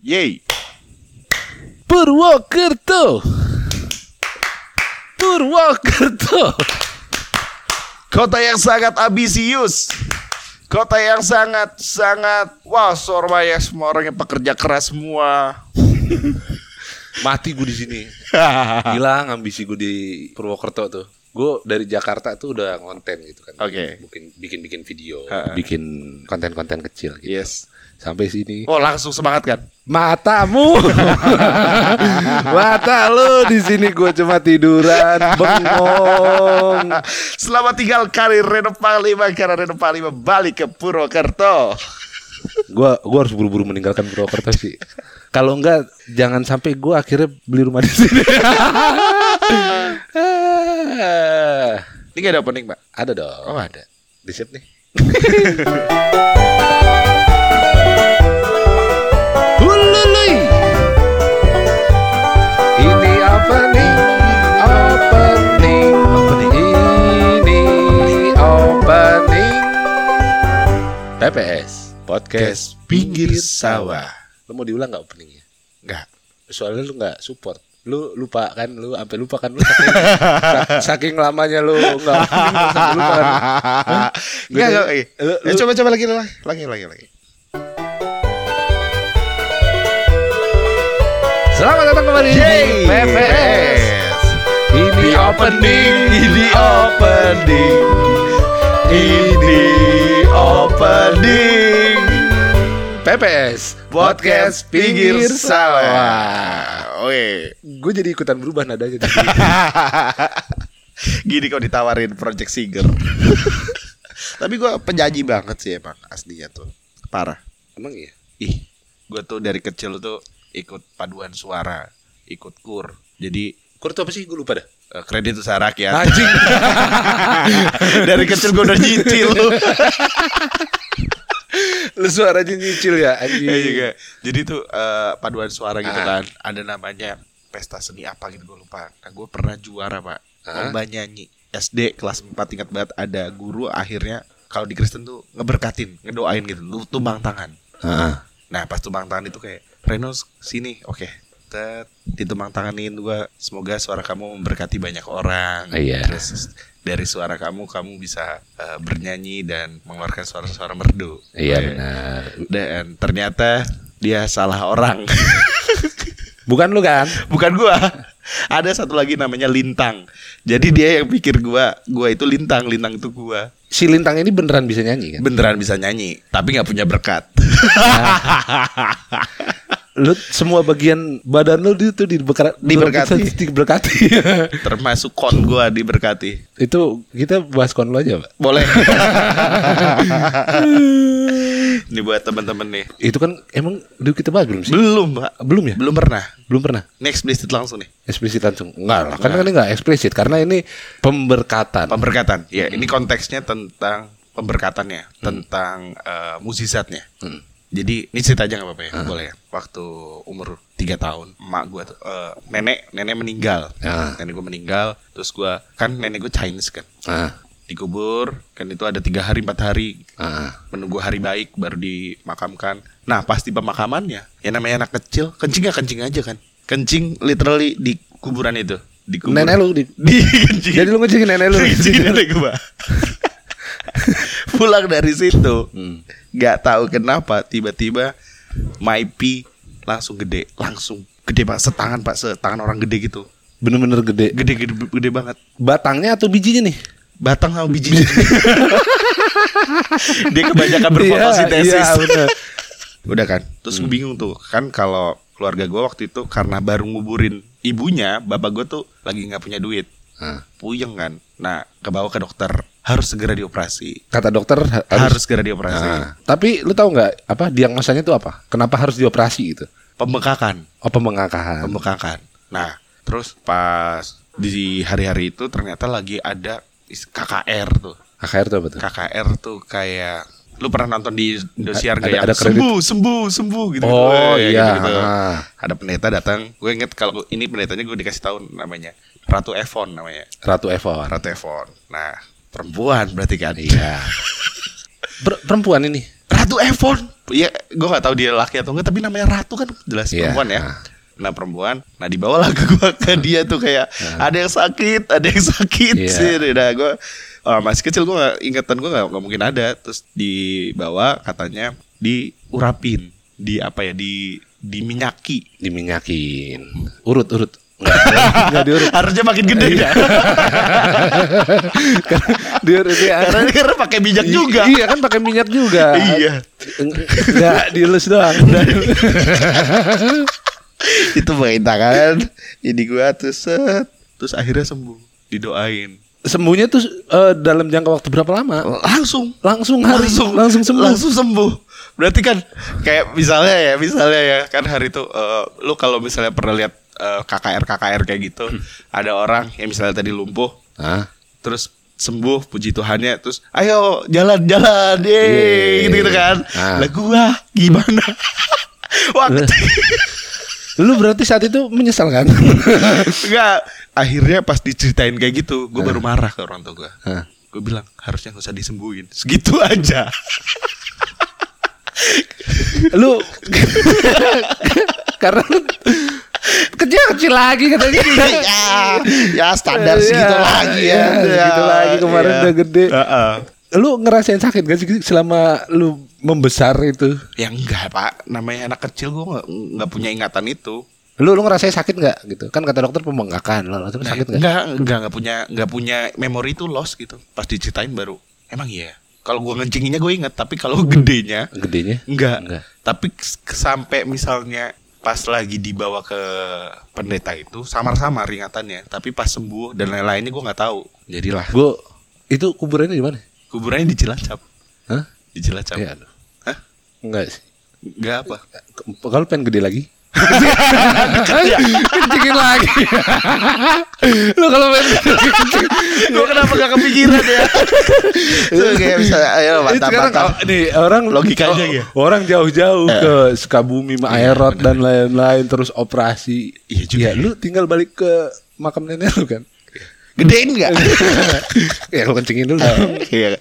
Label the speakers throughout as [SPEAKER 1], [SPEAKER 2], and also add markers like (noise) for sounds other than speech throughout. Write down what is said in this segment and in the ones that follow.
[SPEAKER 1] Yay!
[SPEAKER 2] Purwokerto! Purwokerto!
[SPEAKER 1] Kota yang sangat ambisius. Kota yang sangat sangat wah Surabaya semua orangnya pekerja keras (laughs) semua.
[SPEAKER 2] Mati gue di sini.
[SPEAKER 1] Ah.
[SPEAKER 2] Hilang ambisi gue di Purwokerto tuh. Gue dari Jakarta tuh udah konten gitu kan.
[SPEAKER 1] Oke.
[SPEAKER 2] Bikin bikin bikin video,
[SPEAKER 1] Ha.
[SPEAKER 2] bikin konten-konten kecil gitu.
[SPEAKER 1] yes.
[SPEAKER 2] Sampai sini.
[SPEAKER 1] Oh langsung semangat kan?
[SPEAKER 2] Matamu. (laughs) Mata lu di sini gue cuma tiduran, bengong.
[SPEAKER 1] Selamat tinggal karir Reno Panglima karena Reno Panglima balik ke Purwokerto.
[SPEAKER 2] Gua gua harus buru-buru meninggalkan Purwokerto sih. Kalau enggak jangan sampai gua akhirnya beli rumah di sini.
[SPEAKER 1] Ini gak ada opening, Pak.
[SPEAKER 2] Ah. ada dong.
[SPEAKER 1] Oh, ada.
[SPEAKER 2] Di set (laughs) nih. Hulului. Ini apa nih? Opening. Ini opening. TPS podcast pinggir sawah. Lu mau diulang nggak openingnya?
[SPEAKER 1] Enggak.
[SPEAKER 2] Soalnya lu nggak support. Lu lupa kan lu sampai lupa kan lu saking, sa- saking lamanya lu nggak opening, lu sampai lupa kan.
[SPEAKER 1] Enggak, enggak.
[SPEAKER 2] Lu-
[SPEAKER 1] eh.
[SPEAKER 2] lu-
[SPEAKER 1] Eh, Coba coba lagi lagi lagi lagi lagi.
[SPEAKER 2] Selamat datang kembali di PPS. Ini opening, ini opening,
[SPEAKER 1] Ini opening
[SPEAKER 2] PPS
[SPEAKER 1] podcast pinggir sawah. Oke.
[SPEAKER 2] Gue jadi ikutan berubah nadanya. tadi.
[SPEAKER 1] (laughs) Gini kok ditawarin project singer. (laughs) Tapi gua penyanyi banget sih emang aslinya tuh. Parah.
[SPEAKER 2] Emang iya.
[SPEAKER 1] Ih, gue tuh dari kecil tuh ikut paduan suara, ikut kur. Jadi
[SPEAKER 2] Kur tuh apa sih? Gue lupa dah.
[SPEAKER 1] eh, kredit usaha rakyat.
[SPEAKER 2] Anjing.
[SPEAKER 1] (laughs)
[SPEAKER 2] (laughs)
[SPEAKER 1] dari kecil gue udah nyicil.
[SPEAKER 2] (laughs) Lu suaranya nyicil ya anjing.
[SPEAKER 1] Iya juga. Jadi tuh eh, paduan suara gitu kan,
[SPEAKER 2] Ah.
[SPEAKER 1] ada namanya pesta seni apa gitu gue lupa. Nah, gue pernah juara, Pak.
[SPEAKER 2] Ah.
[SPEAKER 1] Lomba nyanyi SD kelas 4 tingkat banget ada guru akhirnya kalau di Kristen tuh ngeberkatin, ngedoain gitu, lu tumbang tangan. Nah pas tumpang tangan itu kayak Reno sini oke Tet, ditumpang tanganin gua semoga suara kamu memberkati banyak orang
[SPEAKER 2] Iya.
[SPEAKER 1] terus dari suara kamu kamu bisa eh, bernyanyi dan mengeluarkan suara-suara merdu
[SPEAKER 2] Iya
[SPEAKER 1] Oke.
[SPEAKER 2] benar.
[SPEAKER 1] dan ternyata dia salah orang (laughs)
[SPEAKER 2] Bukan lu kan?
[SPEAKER 1] bukan gua ada satu lagi namanya lintang jadi dia yang pikir gua gua itu lintang lintang itu gua
[SPEAKER 2] Si Lintang ini beneran bisa nyanyi kan?
[SPEAKER 1] beneran bisa nyanyi tapi nggak punya berkat (laughs)
[SPEAKER 2] Lu semua bagian badan lu di- tuh dibekra-
[SPEAKER 1] Diberkati.
[SPEAKER 2] (laughs) Diberkati.
[SPEAKER 1] termasuk kon gua diberkati
[SPEAKER 2] Itu kita bahas kon lu aja, Pak. (laughs)
[SPEAKER 1] Boleh. Ini buat teman-teman nih.
[SPEAKER 2] Itu kan emang udah kita bahas belum sih?
[SPEAKER 1] Belum, Pak.
[SPEAKER 2] Belum ya?
[SPEAKER 1] Belum pernah.
[SPEAKER 2] Belum pernah
[SPEAKER 1] Next explicit langsung nih.
[SPEAKER 2] eksplisit langsung. Enggak lah, karena ini enggak eksplisit karena ini pemberkatan.
[SPEAKER 1] Pemberkatan. Ya, ini konteksnya tentang pemberkatannya,
[SPEAKER 2] Hmm.
[SPEAKER 1] tentang eh, muzizatnya. Jadi ini cerita aja nggak apa-apa
[SPEAKER 2] Ah.
[SPEAKER 1] ya, boleh. ya? Waktu umur 3 tahun, emak gua tuh eh, nenek nenek meninggal,
[SPEAKER 2] Ah.
[SPEAKER 1] nenek gua meninggal, terus gua kan nenek gua Chinese kan,
[SPEAKER 2] Ah,
[SPEAKER 1] dikubur kan itu ada tiga hari empat hari
[SPEAKER 2] ah.
[SPEAKER 1] menunggu hari baik baru dimakamkan. Nah pas di pemakamannya, ya namanya anak kecil, kencing ya kencing aja kan. Kencing literally di kuburan itu. Di kuburan.
[SPEAKER 2] Nenek lu (laughs) di
[SPEAKER 1] (laughs) Di kencing.
[SPEAKER 2] Jadi lu ngecengin nenek lu.
[SPEAKER 1] Kencing
[SPEAKER 2] (laughs)
[SPEAKER 1] nenek gua. Pulang dari situ,
[SPEAKER 2] Hmm.
[SPEAKER 1] nggak tahu kenapa tiba-tiba Maipi langsung gede, langsung gede pak, setangan pak, setangan orang gede gitu,
[SPEAKER 2] Bener-bener gede.
[SPEAKER 1] gede gede gede banget.
[SPEAKER 2] Batangnya atau bijinya nih?
[SPEAKER 1] Batang sama
[SPEAKER 2] (laughs)
[SPEAKER 1] bijinya. Dia kebanyakan berfotosintesis.
[SPEAKER 2] Iya, iya, (laughs) bener. Hmm.
[SPEAKER 1] Udah kan? Terus gue bingung tuh Kan kalau keluarga gue waktu itu Karena baru nguburin ibunya Bapak gue tuh lagi nggak punya duit
[SPEAKER 2] Ah.
[SPEAKER 1] Puyeng kan Nah kebawa ke dokter Harus segera dioperasi
[SPEAKER 2] Kata dokter ha- harus,
[SPEAKER 1] Harus segera dioperasi
[SPEAKER 2] Ah. Tapi lu tahu nggak apa diagnosanya itu apa? Kenapa harus dioperasi gitu?
[SPEAKER 1] Pembekakan
[SPEAKER 2] Oh pembengkakan.
[SPEAKER 1] Pembekakan Nah terus pas Di hari-hari itu ternyata lagi ada is- KKR tuh
[SPEAKER 2] AKR tuh apa tuh?
[SPEAKER 1] KKR tuh kayak Lu pernah nonton di Indosiar
[SPEAKER 2] Ada-
[SPEAKER 1] nggak yang
[SPEAKER 2] ada kredit.
[SPEAKER 1] Sembuh, sembuh, sembuh gitu
[SPEAKER 2] Oh iya.
[SPEAKER 1] gitu,
[SPEAKER 2] ah.
[SPEAKER 1] ada pendeta datang gue inget kalau ini pendetanya gue dikasih tahu namanya Ratu Evon namanya
[SPEAKER 2] Ratu Eva.
[SPEAKER 1] Ratu Evon nah perempuan berarti kan
[SPEAKER 2] Iya. Per- perempuan ini.
[SPEAKER 1] Ratu Evon. Iya, gue gak tahu dia laki atau enggak, tapi namanya Ratu kan jelas
[SPEAKER 2] Iya,
[SPEAKER 1] perempuan ya.
[SPEAKER 2] ah.
[SPEAKER 1] Nah perempuan, nah dibawalah ke gua (laughs) ke dia tuh kayak ada yang sakit, ada yang sakit
[SPEAKER 2] Iya.
[SPEAKER 1] sih. Nah gue masih kecil gue nggak ingatan gue nggak nggak mungkin ada. Terus dibawa katanya diurapin, di apa ya di diminyaki.
[SPEAKER 2] diminyakin urut urut Nggak, nggak diurut
[SPEAKER 1] Harusnya makin gede ya.
[SPEAKER 2] diurut
[SPEAKER 1] (laughs)
[SPEAKER 2] ya
[SPEAKER 1] iya. karena karena pakai bijak
[SPEAKER 2] I-
[SPEAKER 1] juga.
[SPEAKER 2] iya kan pakai minyak juga
[SPEAKER 1] Iya.
[SPEAKER 2] nggak dielus
[SPEAKER 1] (laughs)
[SPEAKER 2] doang
[SPEAKER 1] itu perintah kan jadi gua tuh set terus akhirnya sembuh didoain
[SPEAKER 2] sembuhnya tuh eh, dalam jangka waktu berapa lama
[SPEAKER 1] langsung
[SPEAKER 2] langsung hari langsung, sembuh
[SPEAKER 1] langsung sembuh berarti kan kayak misalnya ya misalnya ya kan hari itu eh, lu kalau misalnya pernah lihat eh, KKR KKR kayak gitu
[SPEAKER 2] Hmm.
[SPEAKER 1] ada orang yang misalnya tadi lumpuh
[SPEAKER 2] Hah?
[SPEAKER 1] terus sembuh puji Tuhannya terus ayo jalan jalan yeay
[SPEAKER 2] Yeay.
[SPEAKER 1] gitu gitu kan
[SPEAKER 2] Ah.
[SPEAKER 1] lah gua gimana (laughs) waktu
[SPEAKER 2] lu berarti saat itu menyesal
[SPEAKER 1] (laughs)
[SPEAKER 2] kan
[SPEAKER 1] Enggak Akhirnya pas diceritain kayak gitu
[SPEAKER 2] Ah.
[SPEAKER 1] Gue baru marah ke orang tua gue
[SPEAKER 2] Hah.
[SPEAKER 1] Gue bilang harusnya gak usah disembuhin Segitu aja
[SPEAKER 2] lu (laughs) karena kecil kecil lagi katanya
[SPEAKER 1] Ya
[SPEAKER 2] Iya, iya, segitu lagi, kemarin udah gede.
[SPEAKER 1] Heeh.
[SPEAKER 2] lu ngerasain sakit gak sih selama lu membesar itu
[SPEAKER 1] Ya enggak pak Namanya anak kecil gue gak, nggak punya ingatan itu
[SPEAKER 2] lu lu ngerasain sakit nggak gitu kan kata dokter pembengkakan lu langsung sakit nggak
[SPEAKER 1] Nah, Enggak Enggak nggak punya nggak punya memori itu lost gitu Pas diceritain baru Emang iya Kalau gue ngencinginnya gue inget Tapi kalau gedenya
[SPEAKER 2] gedenya
[SPEAKER 1] Enggak.
[SPEAKER 2] Hmm. Enggak.
[SPEAKER 1] Tapi s- ke- sampai misalnya pas lagi dibawa ke pendeta itu samar-samar ingatannya, tapi pas sembuh dan lain-lainnya gue nggak tahu. Jadilah
[SPEAKER 2] gue itu kuburannya di mana
[SPEAKER 1] kuburannya di Cilacap,
[SPEAKER 2] Hah?
[SPEAKER 1] di Cilacap.
[SPEAKER 2] Iya, aduh.
[SPEAKER 1] Hah?
[SPEAKER 2] Enggak sih.
[SPEAKER 1] Enggak apa?
[SPEAKER 2] Ke- Kalau pengen gede lagi. (laughs) Kencingin lagi. lu kalau pengen gede lagi, kencing.
[SPEAKER 1] gue kenapa gak kepikiran ya? Tuh kayak bisa
[SPEAKER 2] Iya.
[SPEAKER 1] ayo
[SPEAKER 2] Ini sekarang
[SPEAKER 1] bantah-bantah.
[SPEAKER 2] oh, nih orang
[SPEAKER 1] Logikanya
[SPEAKER 2] oh,
[SPEAKER 1] ya.
[SPEAKER 2] orang jauh-jauh ke Sukabumi, Maerat dan lain-lain terus operasi.
[SPEAKER 1] Iya juga
[SPEAKER 2] Ya, lu tinggal balik ke makam nenek lu kan.
[SPEAKER 1] Gedein nggak?
[SPEAKER 2] (laughs) Iya. ya lu kencingin dulu.
[SPEAKER 1] (laughs) Iya.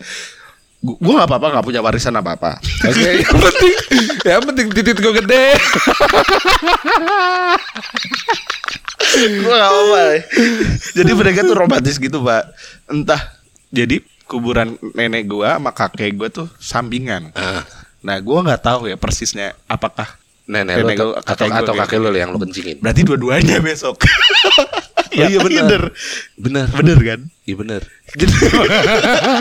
[SPEAKER 1] Gue gak apa-apa gak punya warisan apa-apa.
[SPEAKER 2] Oke, (laughs) yang penting yang penting titik gue gede.
[SPEAKER 1] gue gak apa jadi mereka tuh romantis gitu pak entah jadi kuburan nenek gua sama kakek gua tuh sampingan
[SPEAKER 2] Ah,
[SPEAKER 1] nah gua nggak tahu ya persisnya apakah
[SPEAKER 2] Nenek,
[SPEAKER 1] Nenek
[SPEAKER 2] lu
[SPEAKER 1] gua-
[SPEAKER 2] atau,
[SPEAKER 1] kakek
[SPEAKER 2] atau,
[SPEAKER 1] gua
[SPEAKER 2] atau
[SPEAKER 1] gitu.
[SPEAKER 2] kakek lu yang lu kencingin.
[SPEAKER 1] berarti dua-duanya besok
[SPEAKER 2] Oh,
[SPEAKER 1] (laughs)
[SPEAKER 2] iya, benar.
[SPEAKER 1] bener
[SPEAKER 2] Bener.
[SPEAKER 1] bener kan
[SPEAKER 2] Iya bener.
[SPEAKER 1] jadi, Gitu.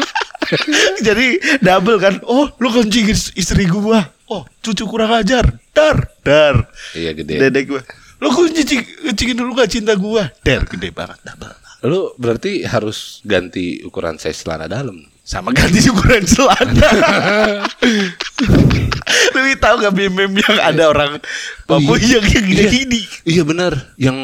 [SPEAKER 1] (laughs) jadi double kan oh lu kencingin istri gua oh cucu kurang ajar dar dar
[SPEAKER 2] Iya gede.
[SPEAKER 1] dedek gua lu kencing kencingin dulu gak cinta gua der gede banget double
[SPEAKER 2] Lu berarti harus ganti ukuran size celana dalam.
[SPEAKER 1] sama (laughs) ganti ukuran celana. (laughs) Lu tahu gak meme yang ada orang Papua yang yang gede Iya, gini?
[SPEAKER 2] Oh, Iya benar.
[SPEAKER 1] (laughs)
[SPEAKER 2] Yang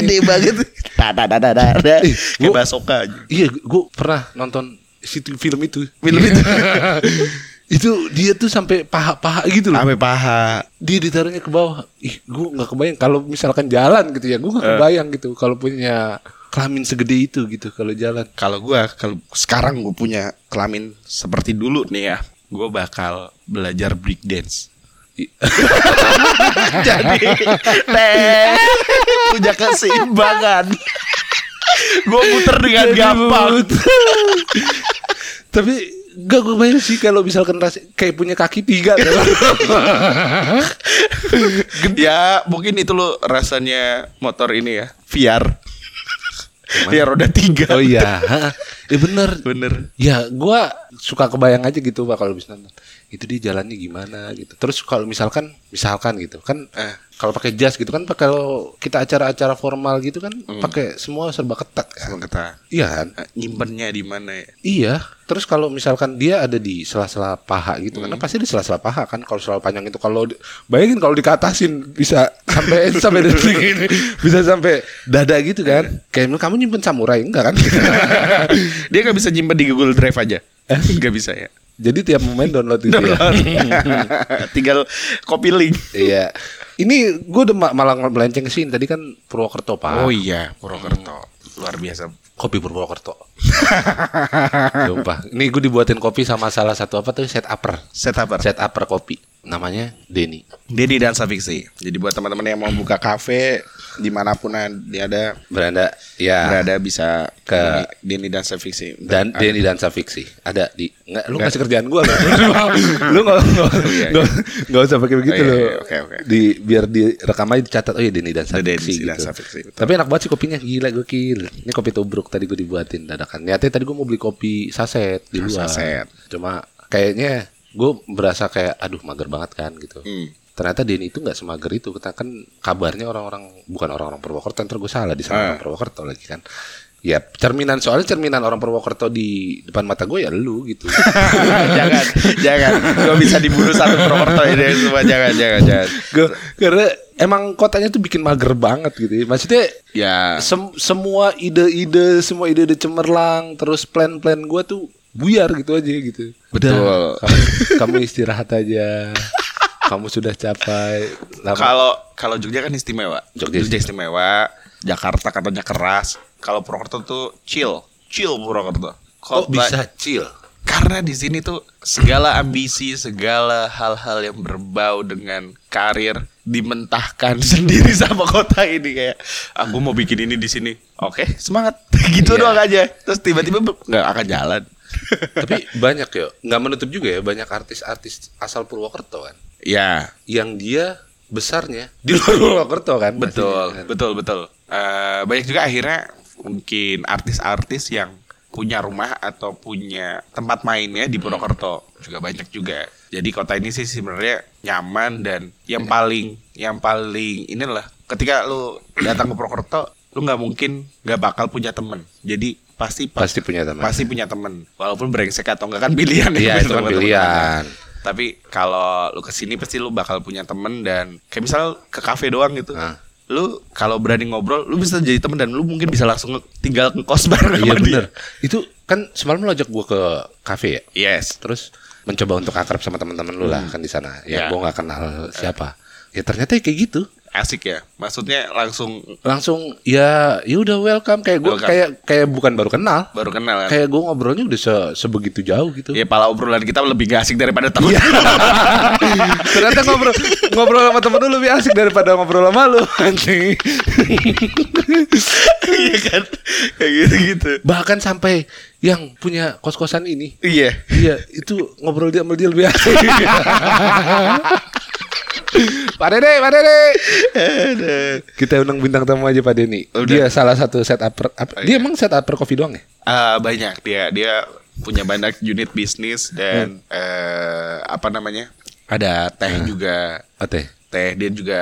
[SPEAKER 1] gede
[SPEAKER 2] (laughs)
[SPEAKER 1] banget. Da da da da da.
[SPEAKER 2] Iya. Ih,
[SPEAKER 1] Kayak
[SPEAKER 2] gua-
[SPEAKER 1] basoka aja.
[SPEAKER 2] iya gua pernah nonton situ film itu. Iya.
[SPEAKER 1] Film itu.
[SPEAKER 2] (laughs) itu dia tuh sampai paha-paha gitu loh.
[SPEAKER 1] Ame paha.
[SPEAKER 2] Dia ditaruhnya ke bawah. Ih, gua nggak kebayang kalau misalkan jalan gitu ya.
[SPEAKER 1] Eh.
[SPEAKER 2] Gua nggak kebayang gitu kalau punya kelamin segede itu gitu kalau jalan.
[SPEAKER 1] Kalau gua kalau sekarang gua punya kelamin seperti dulu nih ya, gua bakal belajar break dance. (laughs) Jadi (laughs) teh punya keseimbangan. gua muter dengan
[SPEAKER 2] Jadi
[SPEAKER 1] gampang.
[SPEAKER 2] mulut. (laughs) Tapi gak gue bayang sih kalau misalkan ras kayak punya kaki
[SPEAKER 1] (laughs)
[SPEAKER 2] tiga.
[SPEAKER 1] ya mungkin itu lo rasanya motor ini ya VR ya roda tiga
[SPEAKER 2] oh iya, (laughs) ya bener.
[SPEAKER 1] bener
[SPEAKER 2] Ya gua suka kebayang aja gitu pak kalau bisa nonton. Itu dia jalannya gimana gitu. Terus kalau misalkan, misalkan gitu kan,
[SPEAKER 1] Eh.
[SPEAKER 2] kalau pakai jas gitu kan, pakai kalau kita acara-acara formal gitu kan, pakai semua serba ketat kan.
[SPEAKER 1] Emang kata
[SPEAKER 2] Iya kan.
[SPEAKER 1] eh, nyimpennya di mana ya
[SPEAKER 2] Iya. Terus kalau misalkan dia ada di sela-sela paha gitu, karena pasti di sela-sela paha kan. Kalau selalu panjang itu kalau di- bayangin kalau dikatasin bisa sampai (laughs) sampai detik ini bisa sampai dada gitu kan. Kayak kamu nyimpen samurai enggak kan?
[SPEAKER 1] dia nggak bisa nyimpen di Google Drive
[SPEAKER 2] (laughs)
[SPEAKER 1] aja nggak bisa ya Iya. (laughs)
[SPEAKER 2] Jadi tiap momen download itu. ya.
[SPEAKER 1] tinggal copy link
[SPEAKER 2] Iya. Ini gue udah ma- malah melenceng ke sini. Tadi kan Purwokerto
[SPEAKER 1] Oh
[SPEAKER 2] pak.
[SPEAKER 1] iya, Purwokerto. Luar biasa.
[SPEAKER 2] Kopi (laughs) Purwokerto. Lupa. Ini gue dibuatin kopi sama salah satu apa tuh set upper.
[SPEAKER 1] Set upper.
[SPEAKER 2] Set upper kopi. Namanya Denny.
[SPEAKER 1] Denny dan Saviksi. Jadi buat teman-teman yang mau buka kafe dimanapun dia ada
[SPEAKER 2] Beranda. Ya.
[SPEAKER 1] berada bisa
[SPEAKER 2] Ke-
[SPEAKER 1] ke Denny dan Ah, Saviksi.
[SPEAKER 2] dan Denny Dansa Fiksi ada di nggak lu kasih kerjaan gua loh. (laughs) lu nggak nggak
[SPEAKER 1] iya.
[SPEAKER 2] nggak- nggak usah pakai begitu
[SPEAKER 1] Oh, iya,
[SPEAKER 2] loh
[SPEAKER 1] iya, oke, oke.
[SPEAKER 2] di biar direkam aja dicatat oh ya Denny Dansa
[SPEAKER 1] The Denny
[SPEAKER 2] Fiksi gitu.
[SPEAKER 1] Dansa Fiksi, betul.
[SPEAKER 2] tapi enak banget sih kopinya gila gokil ini kopi tubruk tadi gua dibuatin dadakan niatnya tadi gua mau beli kopi saset di luar
[SPEAKER 1] Ah, Saset.
[SPEAKER 2] cuma kayaknya gua berasa kayak aduh mager banget kan gitu
[SPEAKER 1] (laughs) Hmm.
[SPEAKER 2] Ternyata Denny itu nggak semager itu. Kita kan kabarnya orang-orang bukan orang-orang Purwokerto, ntar gue salah
[SPEAKER 1] Ah.
[SPEAKER 2] di sana orang Purwokerto lagi kan. Ya cerminan soalnya cerminan orang Purwokerto di depan mata gue ya lu
[SPEAKER 1] (laughs)
[SPEAKER 2] gitu.
[SPEAKER 1] jangan, jangan. Gua bisa dibunuh satu Purwokerto (laughs) ini semua. Jangan, jangan, jangan.
[SPEAKER 2] Gue karena emang kotanya tuh bikin mager banget gitu. ya. Maksudnya
[SPEAKER 1] Ya,
[SPEAKER 2] sem- semua ide-ide, semua ide-ide cemerlang, terus plan-plan gue tuh buyar gitu aja gitu.
[SPEAKER 1] Betul.
[SPEAKER 2] Kamu, kamu istirahat
[SPEAKER 1] (laughs)
[SPEAKER 2] aja. Kamu sudah capai. Lama-
[SPEAKER 1] kalau kalau Jogja kan istimewa.
[SPEAKER 2] Jogja
[SPEAKER 1] Jogja, istimewa. Jakarta katanya keras. Kalau Purwokerto tuh chill, chill Purwokerto. Kota-
[SPEAKER 2] kok bisa chill?
[SPEAKER 1] Karena di sini tuh segala ambisi, segala hal-hal yang berbau dengan karir dimentahkan (laughs) sendiri sama kota ini kayak aku mau bikin ini di sini. Oke, semangat. (laughs) gitu
[SPEAKER 2] Iya.
[SPEAKER 1] doang aja. Terus tiba-tiba ber- nggak akan jalan.
[SPEAKER 2] Tapi banyak ya, nggak menutup juga ya banyak artis-artis asal Purwokerto kan,
[SPEAKER 1] ya,
[SPEAKER 2] yang dia besarnya di luar (laughs) Purwokerto kan.
[SPEAKER 1] betul,
[SPEAKER 2] pastinya kan.
[SPEAKER 1] betul, betul. Eh, banyak juga akhirnya mungkin artis-artis yang punya rumah atau punya tempat mainnya di Purwokerto juga banyak juga. Jadi kota ini sih sebenarnya nyaman dan yang paling yang paling inilah ketika lu datang ke Purwokerto lu nggak mungkin nggak bakal punya temen. Jadi pasti
[SPEAKER 2] Pasti punya teman.
[SPEAKER 1] pasti punya temen walaupun brengsek atau enggak kan pilihan
[SPEAKER 2] Iya, itu kan
[SPEAKER 1] teman-teman.
[SPEAKER 2] pilihan.
[SPEAKER 1] tapi kalau lu kesini pasti lu bakal punya temen dan kayak misal ke kafe doang gitu
[SPEAKER 2] Ah.
[SPEAKER 1] lu kalau berani ngobrol lu bisa jadi temen dan lu mungkin bisa langsung nge- tinggal ngekos (laughs) bareng
[SPEAKER 2] Iya
[SPEAKER 1] sama dia.
[SPEAKER 2] bener. Itu kan semalam lo ajak gue ke kafe ya,
[SPEAKER 1] yes
[SPEAKER 2] terus mencoba untuk akrab sama teman-teman lu lah kan di sana.
[SPEAKER 1] Ya.
[SPEAKER 2] Ya gue nggak kenal siapa. Ya ternyata ya kayak gitu.
[SPEAKER 1] asik ya maksudnya langsung
[SPEAKER 2] Langsung ya, ya udah welcome kayak gue
[SPEAKER 1] Welcome.
[SPEAKER 2] kayak kayak bukan baru kenal.
[SPEAKER 1] baru kenal kan
[SPEAKER 2] Kayak gue ngobrolnya udah se- sebegitu jauh gitu.
[SPEAKER 1] ya
[SPEAKER 2] Iya.
[SPEAKER 1] pala obrolan kita lebih gak asik daripada temen
[SPEAKER 2] Ternyata ngobrol ngobrol sama temen lu lebih asik daripada ngobrol sama lu anjing.
[SPEAKER 1] (laughs) iya kan kayak gitu gitu
[SPEAKER 2] Bahkan sampai yang punya kos-kosan ini.
[SPEAKER 1] iya
[SPEAKER 2] Iya, itu ngobrol dia sama dia lebih asik. (laughs) Pak Dede, Pak Dede. Kita undang bintang tamu aja Pak Deni.
[SPEAKER 1] Udah. Oh, iya.
[SPEAKER 2] Dia salah satu set upper. apa- dia emang set upper coffee doang ya?
[SPEAKER 1] Eh, banyak dia dia punya banyak unit bisnis dan eh, apa namanya ada teh juga
[SPEAKER 2] Oke.
[SPEAKER 1] teh dia juga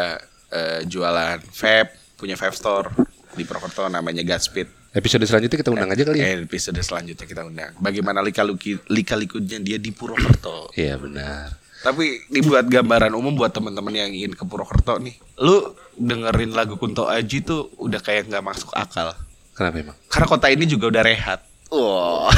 [SPEAKER 1] eh, jualan vape punya vape store di Purwokerto namanya Godspeed
[SPEAKER 2] Episode selanjutnya kita undang aja kali ya.
[SPEAKER 1] eh, episode selanjutnya kita undang bagaimana lika lika likunya dia di Purwokerto
[SPEAKER 2] Iya benar.
[SPEAKER 1] tapi dibuat gambaran umum buat teman-teman yang ingin ke Purwokerto nih lu dengerin lagu Kunto Aji tuh udah kayak nggak masuk akal
[SPEAKER 2] Kenapa emang?
[SPEAKER 1] karena kota ini juga udah rehat (laughs) Wow.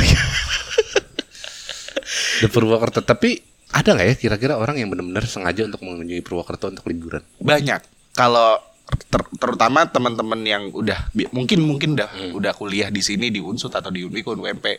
[SPEAKER 2] The Purwokerto tapi ada nggak ya kira-kira orang yang benar-benar sengaja untuk mengunjungi Purwokerto untuk liburan?
[SPEAKER 1] banyak kalau ter- terutama teman-teman yang udah bi- mungkin mungkin udah udah kuliah di sini di Unsut atau di Unico UMP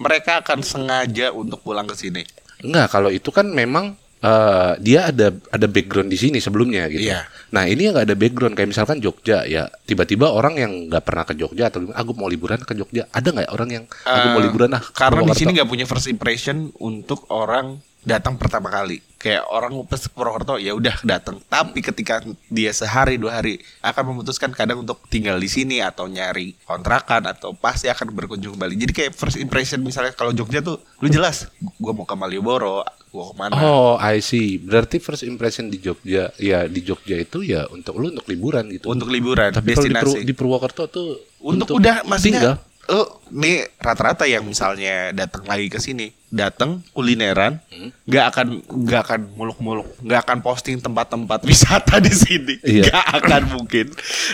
[SPEAKER 1] mereka akan sengaja untuk pulang ke sini
[SPEAKER 2] Enggak, kalau itu kan memang eh, dia ada ada background di sini sebelumnya gitu.
[SPEAKER 1] Iya.
[SPEAKER 2] Nah ini yang nggak ada background kayak misalkan Jogja ya tiba-tiba orang yang nggak pernah ke Jogja atau gimana, ah, gue mau liburan ke Jogja ada nggak ya orang yang aku
[SPEAKER 1] Eh,
[SPEAKER 2] mau liburan ah ke
[SPEAKER 1] karena di
[SPEAKER 2] Purwokerto?
[SPEAKER 1] sini nggak punya first impression untuk orang datang pertama kali kayak orang pas ke Purwokerto ya udah datang tapi ketika dia sehari dua hari akan memutuskan kadang untuk tinggal di sini atau nyari kontrakan atau pasti akan berkunjung kembali jadi kayak first impression misalnya kalau Jogja tuh lu jelas gua mau ke Malioboro gua kemana
[SPEAKER 2] Oh I see. Berarti first impression di Jogja ya di Jogja itu ya untuk lu untuk liburan gitu.
[SPEAKER 1] untuk liburan
[SPEAKER 2] Tapi kalau di,
[SPEAKER 1] destinasi
[SPEAKER 2] Pur- di Purwokerto tuh
[SPEAKER 1] untuk, udah
[SPEAKER 2] tinggal.
[SPEAKER 1] maksudnya lu nih rata-rata yang misalnya datang lagi ke sini datang kulineran nggak akan nggak akan muluk-muluk nggak akan posting tempat-tempat (laughs) wisata di sini
[SPEAKER 2] Iya. Nah.
[SPEAKER 1] nggak akan mungkin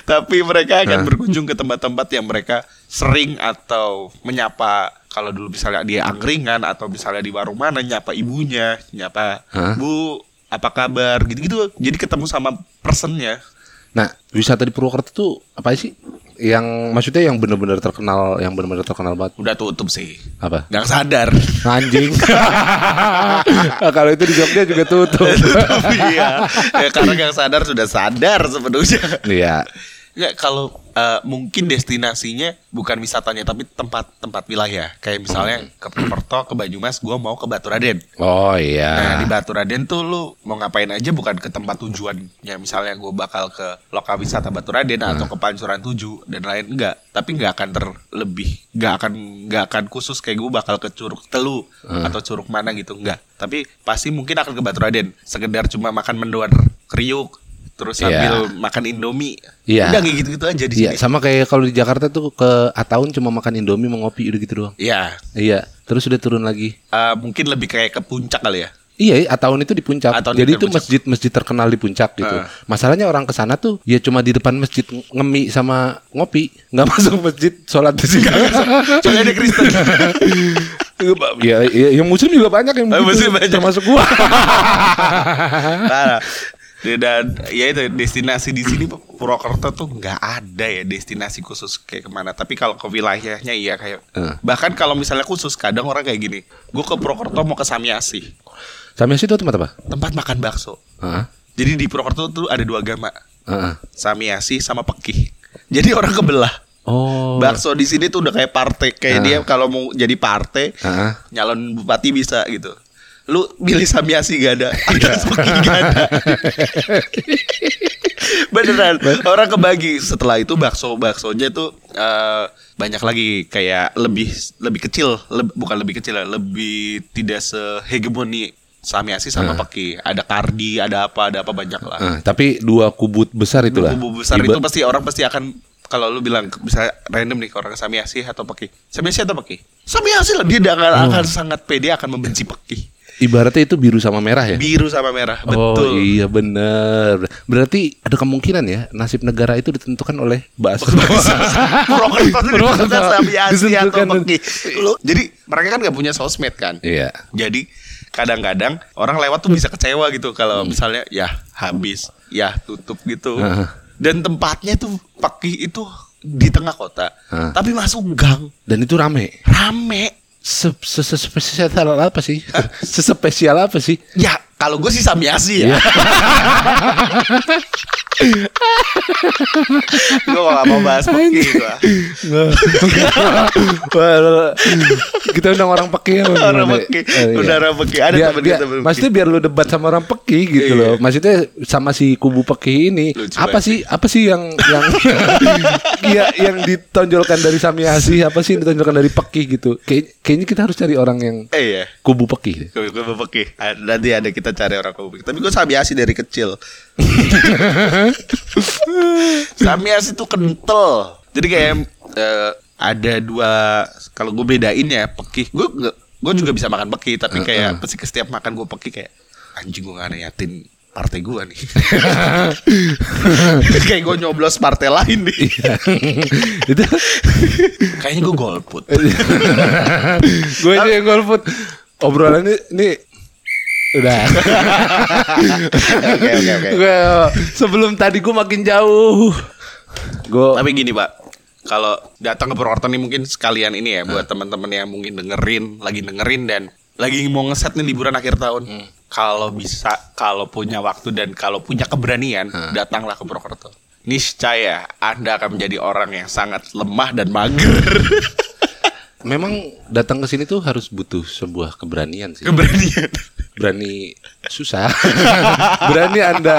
[SPEAKER 1] tapi mereka akan berkunjung ke tempat-tempat yang mereka sering atau menyapa kalau dulu misalnya dia angkringan atau misalnya di warung mana nyapa ibunya nyapa
[SPEAKER 2] Hah?
[SPEAKER 1] bu apa kabar gitu-gitu jadi ketemu sama personnya
[SPEAKER 2] Nah, wisata di Purwokerto tuh apa sih? Yang maksudnya yang benar-benar terkenal, yang benar-benar terkenal banget
[SPEAKER 1] udah tutup sih
[SPEAKER 2] apa?
[SPEAKER 1] nggak sadar (laughs)
[SPEAKER 2] Anjing. Nah, Kalau itu di Jogja juga tutup.
[SPEAKER 1] Tutup, iya ya, karena nggak sadar sudah sadar sepenuhnya
[SPEAKER 2] Iya.
[SPEAKER 1] Nggak, kalau eh, mungkin destinasinya bukan wisatanya tapi tempat-tempat wilayah kayak misalnya ke Purwokerto ke Banyumas gua mau ke Baturaden Nah,
[SPEAKER 2] Oh
[SPEAKER 1] di
[SPEAKER 2] iya.
[SPEAKER 1] Baturaden tuh lu mau ngapain aja bukan ke tempat tujuannya. Misalnya gue bakal ke lokal wisata Baturaden
[SPEAKER 2] Hmm.
[SPEAKER 1] atau ke Pancuran 7 dan lain enggak. Tapi enggak akan terlebih, enggak akan enggak akan khusus kayak gue bakal ke Curug Telu
[SPEAKER 2] Hmm.
[SPEAKER 1] atau Curug mana gitu enggak. Tapi pasti mungkin akan ke Baturaden sekedar cuma makan mendoan kriuk terus
[SPEAKER 2] Iya.
[SPEAKER 1] sambil makan Indomie.
[SPEAKER 2] Iya.
[SPEAKER 1] Udah kayak gitu-gitu aja di
[SPEAKER 2] Iya,
[SPEAKER 1] sini.
[SPEAKER 2] sama kayak kalau di Jakarta tuh ke Ataun cuma makan Indomie mau ngopi udah gitu doang.
[SPEAKER 1] Iya.
[SPEAKER 2] Iya, terus udah turun lagi.
[SPEAKER 1] Eh, mungkin lebih kayak ke puncak
[SPEAKER 2] (laughs)
[SPEAKER 1] kali ya.
[SPEAKER 2] Iya, Ataun itu di puncak.
[SPEAKER 1] Ataun itu di
[SPEAKER 2] Jadi itu
[SPEAKER 1] puncak. Ah.
[SPEAKER 2] masjid-masjid terkenal di puncak gitu. Masalahnya orang ke sana tuh ya cuma di depan masjid ng- ngemi sama ngopi, nggak (laughs) masuk masjid sholat di sini.
[SPEAKER 1] Soalnya ada
[SPEAKER 2] (laughs)
[SPEAKER 1] Kristen.
[SPEAKER 2] ya, ya, yang muslim juga banyak yang
[SPEAKER 1] Eh,
[SPEAKER 2] begitu,
[SPEAKER 1] muslim banyak.
[SPEAKER 2] termasuk gua. (laughs)
[SPEAKER 1] Parah. Dan ya itu destinasi di sini Purwokerto tuh nggak ada ya destinasi khusus kayak kemana. Tapi kalau ke wilayahnya iya kayak
[SPEAKER 2] Eh.
[SPEAKER 1] bahkan kalau misalnya khusus kadang orang kayak gini. Gue ke Purwokerto mau ke Samyasi
[SPEAKER 2] Sampai situ tempat apa?
[SPEAKER 1] tempat makan bakso.
[SPEAKER 2] Heeh.
[SPEAKER 1] Jadi di Purwokerto tuh ada dua agama
[SPEAKER 2] Heeh.
[SPEAKER 1] Samyasi sama Pekih. Jadi orang kebelah.
[SPEAKER 2] Oh.
[SPEAKER 1] Bakso di sini tuh udah kayak partai kayak dia kalau mau jadi partai
[SPEAKER 2] Heeh.
[SPEAKER 1] nyalon bupati bisa gitu. Lu milih Samyasi gak ada, ada Suki gak ada. Beneran orang kebagi. Setelah itu bakso baksonya tuh eh, banyak lagi kayak lebih lebih kecil, leb- bukan lebih kecil, ya, lebih tidak sehegemoni Samyasi sama Peki. Ada kardi, ada apa, ada apa banyak lah.
[SPEAKER 2] Heeh, Eh, tapi dua kubut besar itulah.
[SPEAKER 1] Kubu besar
[SPEAKER 2] Iba-
[SPEAKER 1] itu pasti orang pasti akan kalau lu bilang ke- bisa random nih ke orang Samiasi atau Peki. Samiasi atau Peki? Samiasi lah dia akan,
[SPEAKER 2] Oh.
[SPEAKER 1] akan sangat pede akan membenci Peki.
[SPEAKER 2] ibaratnya itu biru sama merah ya.
[SPEAKER 1] Biru sama merah,
[SPEAKER 2] Oh
[SPEAKER 1] betul.
[SPEAKER 2] iya bener Berarti ada kemungkinan ya Nasib negara itu ditentukan oleh
[SPEAKER 1] (laughs)
[SPEAKER 2] bakso (laughs)
[SPEAKER 1] Purwokerto tuh
[SPEAKER 2] Purwokerto.
[SPEAKER 1] ditentukan Samiasi atau
[SPEAKER 2] Ditentukan.
[SPEAKER 1] Peki. Lu- Jadi mereka kan nggak punya sosmed kan.
[SPEAKER 2] Iya
[SPEAKER 1] Jadi kadang-kadang orang lewat tuh bisa kecewa gitu kalau misalnya ya habis, ya tutup gitu.
[SPEAKER 2] Hmm. Heeh.
[SPEAKER 1] Dan tempatnya tuh Peki itu di tengah kota,
[SPEAKER 2] Heeh.
[SPEAKER 1] tapi masuk gang
[SPEAKER 2] Dan itu rame
[SPEAKER 1] rame.
[SPEAKER 2] Se- se- se- Sespesial apa
[SPEAKER 1] (laughs)
[SPEAKER 2] sih? Sespesial apa sih?
[SPEAKER 1] Ya,
[SPEAKER 2] Iya.
[SPEAKER 1] kalau gue sih Samyasi ya. (laughs) gue gak mau bahas Peki gue.
[SPEAKER 2] Wah, (laughs) kita undang orang peki ya,
[SPEAKER 1] Orang
[SPEAKER 2] gimana?
[SPEAKER 1] peki,
[SPEAKER 2] Eh, iya.
[SPEAKER 1] udah orang peki. Ada
[SPEAKER 2] Biar-
[SPEAKER 1] temen
[SPEAKER 2] biar-
[SPEAKER 1] kita temen peki.
[SPEAKER 2] maksudnya biar lu debat sama orang peki gitu
[SPEAKER 1] Iya.
[SPEAKER 2] loh. Maksudnya sama si kubu peki ini
[SPEAKER 1] Lucu
[SPEAKER 2] apa
[SPEAKER 1] banget.
[SPEAKER 2] sih apa sih yang yang (laughs) ya, yang ditonjolkan dari Samiasi apa sih yang ditonjolkan dari peki gitu. Kay- kayaknya kita harus cari orang yang
[SPEAKER 1] Eh ya,
[SPEAKER 2] kubu
[SPEAKER 1] (laughs)
[SPEAKER 2] peki.
[SPEAKER 1] gue gue peki. Ah, Nanti ada kita cari orang peki. Tapi gue Samyasi dari kecil. Samyasi tuh kental. Jadi kayak eh, ada dua. Kalau gue bedain ya peki. Gue nggak- gue juga bisa makan peki, tapi kayak pasti setiap makan gue peki kayak anjing gue gak niatin partai gue nih. (laughs) kayak gue nyoblos partai lain nih.
[SPEAKER 2] itu
[SPEAKER 1] Kayaknya gue golput.
[SPEAKER 2] gue aja yang golput. Obrolan ini, ini udah.
[SPEAKER 1] (laughs) Oke oke oke.
[SPEAKER 2] Well, sebelum tadi gue makin jauh. Gue
[SPEAKER 1] Tapi gini pak, kalau datang ke Purwokerto nih mungkin sekalian ini ya
[SPEAKER 2] Nah.
[SPEAKER 1] buat teman-teman yang mungkin dengerin, lagi dengerin dan lagi mau ngeset nih liburan akhir tahun.
[SPEAKER 2] Hmm.
[SPEAKER 1] Kalau bisa, kalau punya waktu dan kalau punya keberanian,
[SPEAKER 2] Nah.
[SPEAKER 1] datanglah ke Purwokerto. Niscaya Anda akan menjadi orang yang sangat lemah dan mager. (laughs)
[SPEAKER 2] memang datang ke sini tuh harus butuh sebuah keberanian sih.
[SPEAKER 1] keberanian.
[SPEAKER 2] Berani susah. (laughs) berani Anda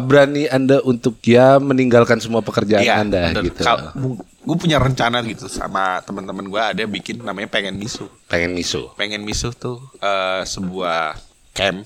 [SPEAKER 2] berani Anda untuk ya meninggalkan semua pekerjaan
[SPEAKER 1] Iya,
[SPEAKER 2] Anda gitu.
[SPEAKER 1] gue punya rencana gitu sama teman-teman gue ada bikin namanya pengen misu.
[SPEAKER 2] Pengen miso.
[SPEAKER 1] pengen misuh tuh eh, sebuah camp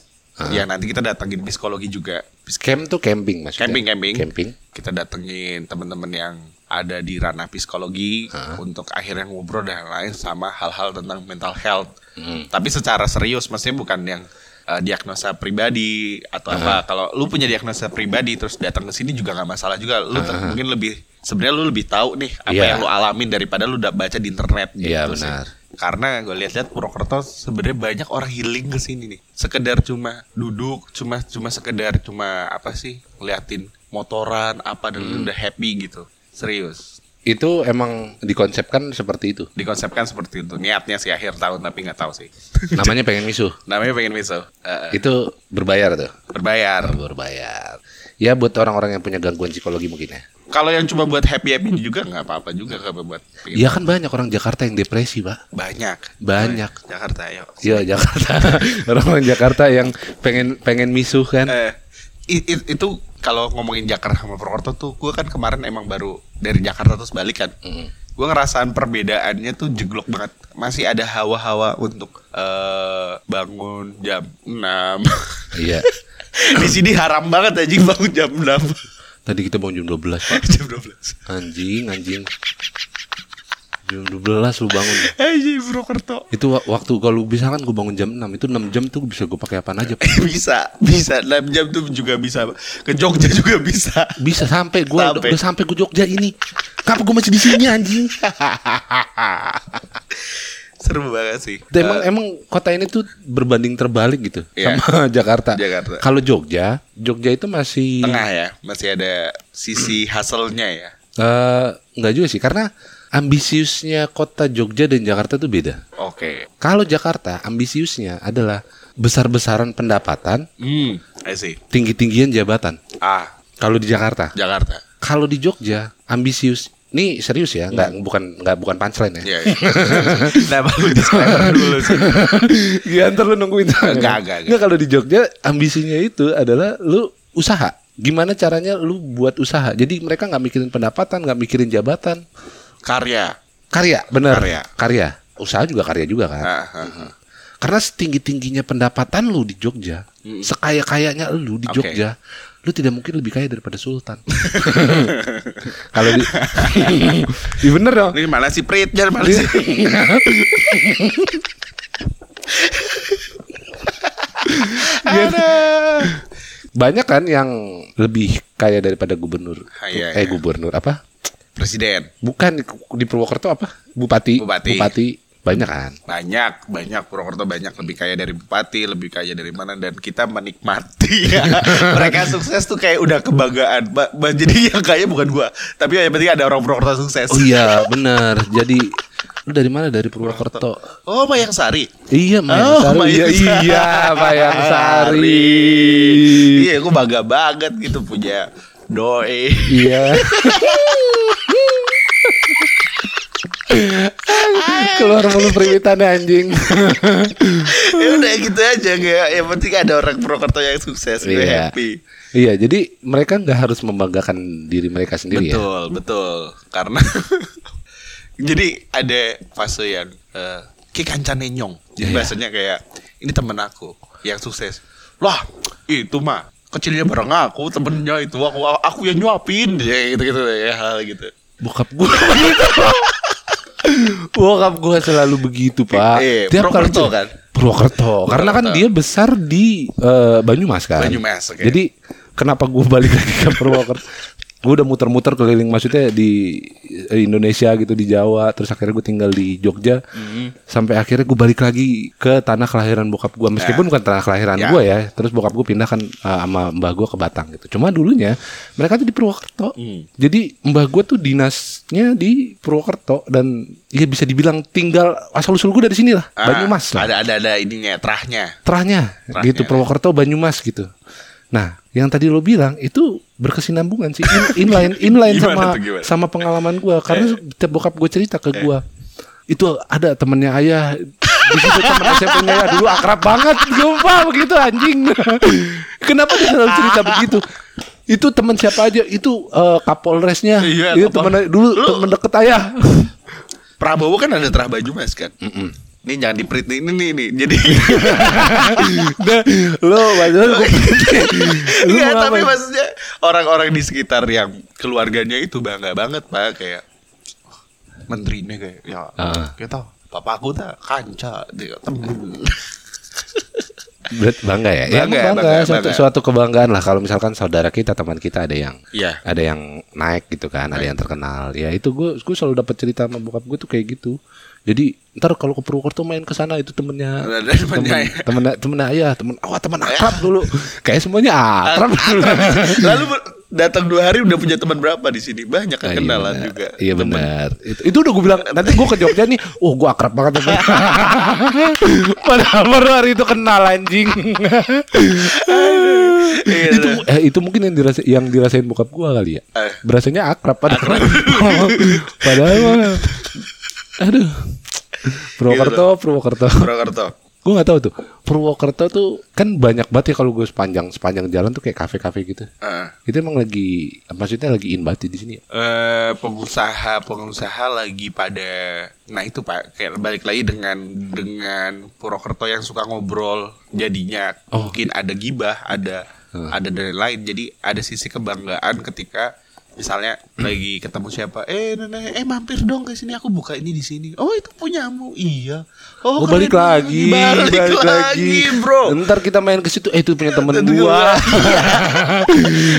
[SPEAKER 1] ya nanti kita datengin psikologi juga
[SPEAKER 2] Camp tuh camping maksudnya.
[SPEAKER 1] camping camping
[SPEAKER 2] Camping.
[SPEAKER 1] kita datengin teman-teman yang ada di ranah psikologi untuk akhirnya ngobrol dan lain sama hal-hal tentang mental health
[SPEAKER 2] Hmm.
[SPEAKER 1] tapi secara serius maksudnya bukan yang eh, diagnosa pribadi atau apa kalau lu punya diagnosa pribadi terus datang ke sini juga nggak masalah juga lu ter- mungkin lebih sebenarnya lu lebih tahu nih apa
[SPEAKER 2] Iya.
[SPEAKER 1] yang lu alamin daripada lu udah baca di internet gitu
[SPEAKER 2] Iya,
[SPEAKER 1] sih.
[SPEAKER 2] benar.
[SPEAKER 1] Karena gue lihat-lihat Purwokerto sebenarnya banyak orang healing ke sini nih. Sekedar cuma duduk, cuma cuma sekedar cuma apa sih ngeliatin motoran apa dan udah happy gitu. Serius.
[SPEAKER 2] Itu emang dikonsepkan seperti itu.
[SPEAKER 1] Dikonsepkan seperti itu. Niatnya sih akhir tahun tapi nggak tahu sih.
[SPEAKER 2] Namanya pengen misuh.
[SPEAKER 1] Namanya pengen miso. Eh, eh,
[SPEAKER 2] Itu berbayar tuh.
[SPEAKER 1] berbayar.
[SPEAKER 2] Berbayar. Ya buat orang-orang yang punya gangguan psikologi mungkin ya.
[SPEAKER 1] Kalau yang cuma buat happy happy juga nggak apa-apa juga kalau buat pengen-
[SPEAKER 2] Ya kan banyak orang Jakarta yang depresi, Pak.
[SPEAKER 1] banyak.
[SPEAKER 2] Banyak.
[SPEAKER 1] Jakarta ayo.
[SPEAKER 2] Ya Jakarta. (laughs) orang Jakarta yang pengen pengen misuh kan.
[SPEAKER 1] Eh, i- i- itu kalau ngomongin Jakarta sama Purwokerto tuh, gue kan kemarin emang baru dari Jakarta terus balik kan. Gue ngerasaan perbedaannya tuh jeglok banget. Masih ada hawa-hawa untuk eh, bangun jam 6
[SPEAKER 2] Iya.
[SPEAKER 1] (laughs) Di sini haram banget anjing bangun jam 6
[SPEAKER 2] Tadi kita bangun jam 12, Pak.
[SPEAKER 1] (laughs) jam 12
[SPEAKER 2] Anjing, anjing. Jam 12 lu bangun.
[SPEAKER 1] Anjing Purwokerto. (laughs)
[SPEAKER 2] Itu wa- waktu kalau bisa kan gue bangun jam 6 Itu 6 jam tuh bisa gue pakai apaan aja Pak.
[SPEAKER 1] bisa, bisa. 6 jam tuh juga bisa. Ke Jogja juga bisa.
[SPEAKER 2] Bisa sampai gue
[SPEAKER 1] Sampai.
[SPEAKER 2] udah, udah sampai gue Jogja ini Kenapa gue masih di sini (laughs) anjing
[SPEAKER 1] Seru banget sih.
[SPEAKER 2] Dan Emang emang kota ini tuh berbanding terbalik gitu
[SPEAKER 1] Iya.
[SPEAKER 2] Sama (laughs) Jakarta,
[SPEAKER 1] Jakarta.
[SPEAKER 2] Kalau Jogja Jogja itu masih
[SPEAKER 1] Tengah ya, masih ada sisi hustle-nya ya.
[SPEAKER 2] eh, Nggak juga sih Karena ambisiusnya kota Jogja dan Jakarta tuh beda
[SPEAKER 1] Oke.
[SPEAKER 2] Kalau Jakarta ambisiusnya adalah Besar-besaran pendapatan
[SPEAKER 1] Hmm, I see.
[SPEAKER 2] Tinggi-tinggian jabatan
[SPEAKER 1] Ah,
[SPEAKER 2] Kalau di Jakarta
[SPEAKER 1] Jakarta.
[SPEAKER 2] kalau di Jogja ambisius ini serius ya nggak bukan nggak bukan punchline (laughs) ya
[SPEAKER 1] Iya. iya. (laughs) nah, baru disclaimer dulu sih.
[SPEAKER 2] ya ntar lu nungguin
[SPEAKER 1] Nggak, nggak, nggak.
[SPEAKER 2] nggak kalau di Jogja ambisinya itu adalah lu usaha gimana caranya lu buat usaha jadi mereka nggak mikirin pendapatan nggak mikirin jabatan
[SPEAKER 1] Karya.
[SPEAKER 2] karya bener
[SPEAKER 1] Karya.
[SPEAKER 2] usaha juga karya juga kan
[SPEAKER 1] Ah, ah, ah.
[SPEAKER 2] karena setinggi tingginya pendapatan lu di Jogja sekaya kayanya lu di
[SPEAKER 1] Oke.
[SPEAKER 2] Jogja lu tidak mungkin lebih kaya
[SPEAKER 1] (laughs)
[SPEAKER 2] daripada Sultan kalau di Iya bener dong
[SPEAKER 1] Ini mana sih Prit? Jangan mana sih? Aduh.
[SPEAKER 2] banyak kan yang lebih kaya daripada gubernur
[SPEAKER 1] Ah, iya,
[SPEAKER 2] eh
[SPEAKER 1] iya.
[SPEAKER 2] gubernur apa
[SPEAKER 1] Presiden.
[SPEAKER 2] bukan di, di Purwokerto apa bupati
[SPEAKER 1] Bupati.
[SPEAKER 2] banyak kan
[SPEAKER 1] Banyak, banyak Purwokerto banyak lebih kaya dari bupati, lebih kaya dari mana dan kita menikmati (laughs) ya. Mereka sukses tuh kayak udah kebanggaan. Ba- ba- jadi (laughs) yang kaya bukan gua, tapi yang penting ada orang Purwokerto sukses.
[SPEAKER 2] oh iya bener jadi lu dari mana dari Purwokerto
[SPEAKER 1] Oh, Mayang Sari.
[SPEAKER 2] iya Mayangsari
[SPEAKER 1] Oh,
[SPEAKER 2] iya
[SPEAKER 1] Mayangsari.
[SPEAKER 2] iya Mayangsari
[SPEAKER 1] Iya, gue bangga banget gitu punya doi. (laughs)
[SPEAKER 2] iya keluar mulu periwitan anjing
[SPEAKER 1] ya udah gitu aja kayak yang penting ada orang Purwokerto yang sukses, gue happy.
[SPEAKER 2] iya jadi mereka nggak harus membanggakan diri mereka sendiri ya
[SPEAKER 1] Betul, betul. Karena (laughs) jadi ada fase yang eh ki kancane nyong.
[SPEAKER 2] Iya.
[SPEAKER 1] Jadi bahasanya kayak ini temen aku yang sukses. Lah, itu mah kecilnya bareng aku, temennya itu aku aku yang nyuapin ya gitu-gitu ya hal gitu.
[SPEAKER 2] Bokap gua (laughs) Bokap gua selalu begitu pak
[SPEAKER 1] Eh, Purwokerto
[SPEAKER 2] kali-
[SPEAKER 1] kan?
[SPEAKER 2] Purwokerto Karena kan
[SPEAKER 1] Purwokerto.
[SPEAKER 2] dia besar di eh, Banyumas kan
[SPEAKER 1] Banyumas, oke.
[SPEAKER 2] Jadi kenapa gua balik lagi ke Purwokerto Gua udah muter-muter keliling maksudnya di eh, Indonesia gitu di Jawa terus akhirnya gua tinggal di Jogja
[SPEAKER 1] Hmm.
[SPEAKER 2] sampai akhirnya gua balik lagi ke tanah kelahiran bokap gua meskipun bukan tanah kelahiran
[SPEAKER 1] Ya.
[SPEAKER 2] gua ya terus bokap gua pindah kan eh, sama mbah gua ke Batang gitu cuma dulunya mereka tuh di Purwokerto
[SPEAKER 1] Hmm.
[SPEAKER 2] jadi mbah gua tuh dinasnya di Purwokerto dan ya bisa dibilang tinggal asal usul gua dari sini lah
[SPEAKER 1] Ah,
[SPEAKER 2] Banyumas lah
[SPEAKER 1] Ada ada ada ininya terahnya.
[SPEAKER 2] terahnya
[SPEAKER 1] Terahnya,
[SPEAKER 2] gitu
[SPEAKER 1] ya.
[SPEAKER 2] Purwokerto Banyumas gitu. Nah, yang tadi lo bilang itu berkesinambungan sih In-
[SPEAKER 1] (laughs)
[SPEAKER 2] inline inline
[SPEAKER 1] Gimana
[SPEAKER 2] sama
[SPEAKER 1] tuh, gimana? Eh.
[SPEAKER 2] sama pengalaman gua karena tiap bokap gue cerita ke gua itu ada temennya ayah di situ temen SMP-nya ayah dulu akrab banget sumpah begitu anjing (laughs) kenapa dia selalu cerita begitu itu teman siapa aja itu eh, kapolresnya
[SPEAKER 1] Iya,
[SPEAKER 2] itu
[SPEAKER 1] Kapol-
[SPEAKER 2] temen dulu
[SPEAKER 1] Lu-
[SPEAKER 2] temen deket ayah (laughs)
[SPEAKER 1] Prabowo kan ada terah baju mas kan. Ini jangan diperit nih ini nih, nih. Jadi
[SPEAKER 2] (laughs) Nah, lo maksudnya (laughs) gua- lu
[SPEAKER 1] Nggak,
[SPEAKER 2] mau
[SPEAKER 1] tapi
[SPEAKER 2] ngapain?
[SPEAKER 1] maksudnya orang-orang di sekitar yang keluarganya itu bangga banget pak kayak "Wah, menterinya kayak ya
[SPEAKER 2] Ah.
[SPEAKER 1] kita papa aku tak kanca dia temen.
[SPEAKER 2] Berat bangga ya. ya
[SPEAKER 1] Bangga,
[SPEAKER 2] emang bangga,
[SPEAKER 1] bangga,
[SPEAKER 2] suatu,
[SPEAKER 1] bangga.
[SPEAKER 2] suatu kebanggaan lah kalau misalkan saudara kita teman kita ada yang
[SPEAKER 1] Iya.
[SPEAKER 2] ada yang naik gitu kan, ada yang terkenal. Ya itu gue gue selalu dapat cerita sama bokap gue tuh kayak gitu. Jadi ntar kalau ke Purwokerto main ke sana itu temennya
[SPEAKER 1] Ada temennya ya.
[SPEAKER 2] temen temen ayah temen awah temen akrab dulu kayak semuanya akrab dulu.
[SPEAKER 1] (laughs)
[SPEAKER 2] (laughs)
[SPEAKER 1] Lalu ber- datang dua hari udah punya teman berapa di sini? Banyak kan
[SPEAKER 2] Nah,
[SPEAKER 1] kenalan
[SPEAKER 2] iya,
[SPEAKER 1] juga.
[SPEAKER 2] Iya benar. Itu, itu udah gue bilang nanti gue ke Jogja nih, oh gue akrab banget
[SPEAKER 1] (laughs)
[SPEAKER 2] sama. (laughs) Padahal baru hari itu kenal anjing. (laughs)
[SPEAKER 1] Iya,
[SPEAKER 2] itu eh, itu mungkin yang dirasa yang dirasain bokap gue kali ya.
[SPEAKER 1] Eh.
[SPEAKER 2] Berasanya akrab padahal. (laughs) padahal mah- aduh. Purwokerto,
[SPEAKER 1] Gitu.
[SPEAKER 2] Purwokerto. (laughs)
[SPEAKER 1] Purwokerto.
[SPEAKER 2] Gue nggak tahu tuh. Purwokerto tuh kan banyak banget ya kalau gue sepanjang sepanjang jalan tuh kayak kafe-kafe gitu.
[SPEAKER 1] Heeh.
[SPEAKER 2] Itu emang lagi maksudnya lagi in banget ya di sini. ya?
[SPEAKER 1] eh pengusaha pengusaha lagi pada nah itu pak kayak balik lagi dengan dengan Purwokerto yang suka ngobrol jadinya
[SPEAKER 2] Oh. Hmm.
[SPEAKER 1] mungkin ada gibah ada ada dari lain jadi ada sisi kebanggaan ketika misalnya lagi ketemu siapa eh nenek eh mampir dong ke sini aku buka ini di sini oh itu punyamu iya
[SPEAKER 2] Oh,
[SPEAKER 1] kalian
[SPEAKER 2] balik
[SPEAKER 1] punya
[SPEAKER 2] lagi,
[SPEAKER 1] (laughs) balik, lagi bro
[SPEAKER 2] Ntar kita main ke situ, eh itu punya temen
[SPEAKER 1] Tentu
[SPEAKER 2] (laughs) gua.
[SPEAKER 1] Iya.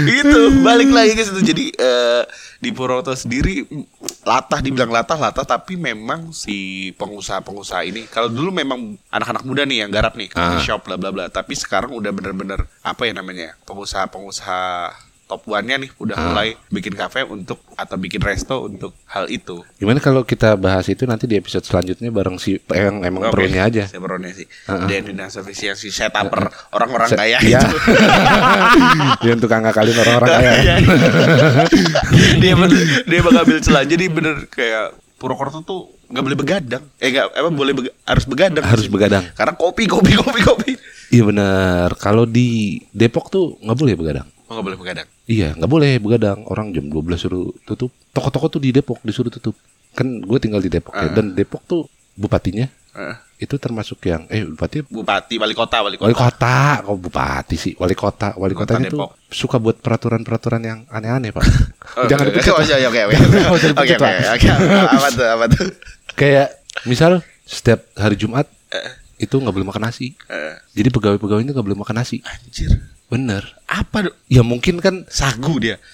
[SPEAKER 1] gitu balik lagi ke situ jadi eh, di Purwokerto sendiri mm, latah dibilang latah latah tapi memang si pengusaha-pengusaha ini kalau dulu memang anak-anak muda nih yang garap nih
[SPEAKER 2] Ah.
[SPEAKER 1] coffee shop bla bla bla tapi sekarang udah bener-bener apa ya namanya pengusaha-pengusaha top one-nya nih
[SPEAKER 2] Ah.
[SPEAKER 1] udah mulai bikin kafe untuk atau bikin resto untuk hal itu
[SPEAKER 2] Gimana kalau kita bahas itu nanti di episode selanjutnya bareng si yang emang
[SPEAKER 1] Oke,
[SPEAKER 2] perunya
[SPEAKER 1] (laughs)
[SPEAKER 2] aja. Ah,
[SPEAKER 1] saya perunya sih dan dinas efisiensi setuper orang-orang kaya gitu.
[SPEAKER 2] Iya.
[SPEAKER 1] itu
[SPEAKER 2] (laughs) Yang tukang ngakalin orang-orang kaya.
[SPEAKER 1] Iya. (laughs) dia bener- dia bakal ambil celah. Jadi bener kayak Purwokerto tuh nggak boleh begadang. Eh nggak apa boleh beg- harus begadang.
[SPEAKER 2] Harus begadang.
[SPEAKER 1] Karena kopi kopi kopi kopi.
[SPEAKER 2] Iya benar. Kalau di Depok tuh nggak boleh begadang.
[SPEAKER 1] Oh nggak boleh begadang.
[SPEAKER 2] Iya, nggak boleh begadang. Orang jam 12 suruh tutup. Toko-toko tuh di Depok disuruh tutup. Kan gue tinggal di Depok
[SPEAKER 1] Ah.
[SPEAKER 2] ya. Dan Depok tuh bupatinya
[SPEAKER 1] Heeh.
[SPEAKER 2] itu termasuk yang eh bupati
[SPEAKER 1] Bupati wali kota wali kota.
[SPEAKER 2] Wali kota, kok bupati sih? Wali kota, wali
[SPEAKER 1] Kota
[SPEAKER 2] kotanya tuh
[SPEAKER 1] Depok. Oh,
[SPEAKER 2] suka buat peraturan-peraturan yang aneh-aneh
[SPEAKER 1] (laughs)
[SPEAKER 2] pak. Jangan
[SPEAKER 1] oke,
[SPEAKER 2] dipecat.
[SPEAKER 1] oke,
[SPEAKER 2] Pak.
[SPEAKER 1] oke, oke, oke.
[SPEAKER 2] Jangan
[SPEAKER 1] Oke,
[SPEAKER 2] dipecat,
[SPEAKER 1] oke,
[SPEAKER 2] Pak.
[SPEAKER 1] oke.
[SPEAKER 2] (laughs)
[SPEAKER 1] Apa tuh, apa tuh?
[SPEAKER 2] Kayak misal setiap hari Jumat itu nggak boleh makan nasi.
[SPEAKER 1] Eh,
[SPEAKER 2] Jadi pegawai-pegawai itu nggak boleh makan nasi.
[SPEAKER 1] Anjir.
[SPEAKER 2] Bener.
[SPEAKER 1] Apa dong?
[SPEAKER 2] Ya mungkin kan.
[SPEAKER 1] Sagu dia.
[SPEAKER 2] (laughs)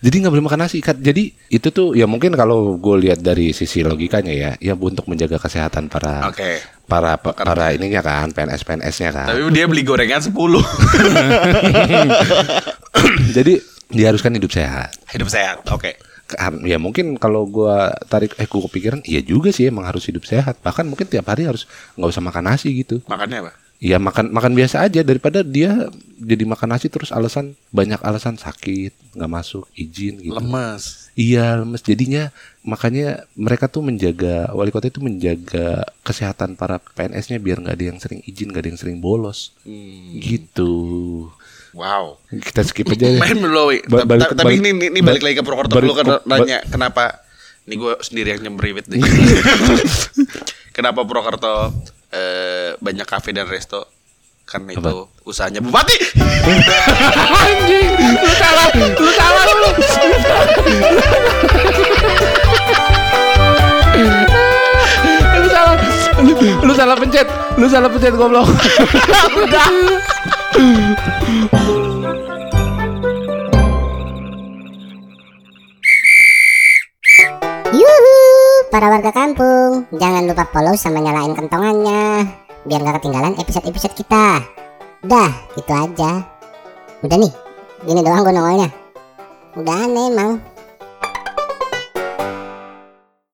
[SPEAKER 2] Jadi nggak boleh makan nasi. Kat. Jadi itu tuh ya mungkin kalau gue lihat dari sisi logikanya ya, ya untuk menjaga kesehatan para
[SPEAKER 1] Oke.
[SPEAKER 2] para para ininya kan, PNS PNS-nya kan.
[SPEAKER 1] Tapi dia beli gorengan 10
[SPEAKER 2] (clears throat) Jadi diharuskan hidup sehat.
[SPEAKER 1] (laughs) Hidup sehat. Oke.
[SPEAKER 2] Kan, ya mungkin kalau gua tarik eh gua kepikiran iya juga sih emang harus hidup sehat bahkan mungkin tiap hari harus nggak usah makan nasi gitu
[SPEAKER 1] Makannya apa?
[SPEAKER 2] ya makan makan biasa aja daripada dia jadi makan nasi terus alasan banyak alasan sakit nggak masuk izin gitu
[SPEAKER 1] Lemes.
[SPEAKER 2] iya lemes jadinya makanya mereka tuh menjaga wali kota itu menjaga kesehatan para PNS-nya biar nggak ada yang sering izin nggak ada yang sering bolos
[SPEAKER 1] Hmm.
[SPEAKER 2] gitu
[SPEAKER 1] Wow.
[SPEAKER 2] kita skip aja
[SPEAKER 1] (laughs)
[SPEAKER 2] ya. deh.
[SPEAKER 1] main melalui.
[SPEAKER 2] Iya. Ba- balik-
[SPEAKER 1] tapi
[SPEAKER 2] balik-
[SPEAKER 1] ini, ini, ini balik lagi ke Purwokerto
[SPEAKER 2] balik
[SPEAKER 1] dulu kan
[SPEAKER 2] ke-
[SPEAKER 1] nanya kenapa ini gue sendiri yang nyemriwit
[SPEAKER 2] (laughs)
[SPEAKER 1] deh. kenapa Purwokerto eh, banyak kafe dan resto? Karena itu usahanya
[SPEAKER 2] (laughs)
[SPEAKER 1] bupati.
[SPEAKER 2] anjing lu salah lu salah lu lu salah lu, lu salah pencet lu salah pencet goblok
[SPEAKER 3] Yuhu, para warga kampung, jangan lupa follow sama nyalain kentongannya biar nggak ketinggalan episode-episode kita. Dah, itu aja. Udah nih, gini doang gue nongolnya. Udah aneh emang.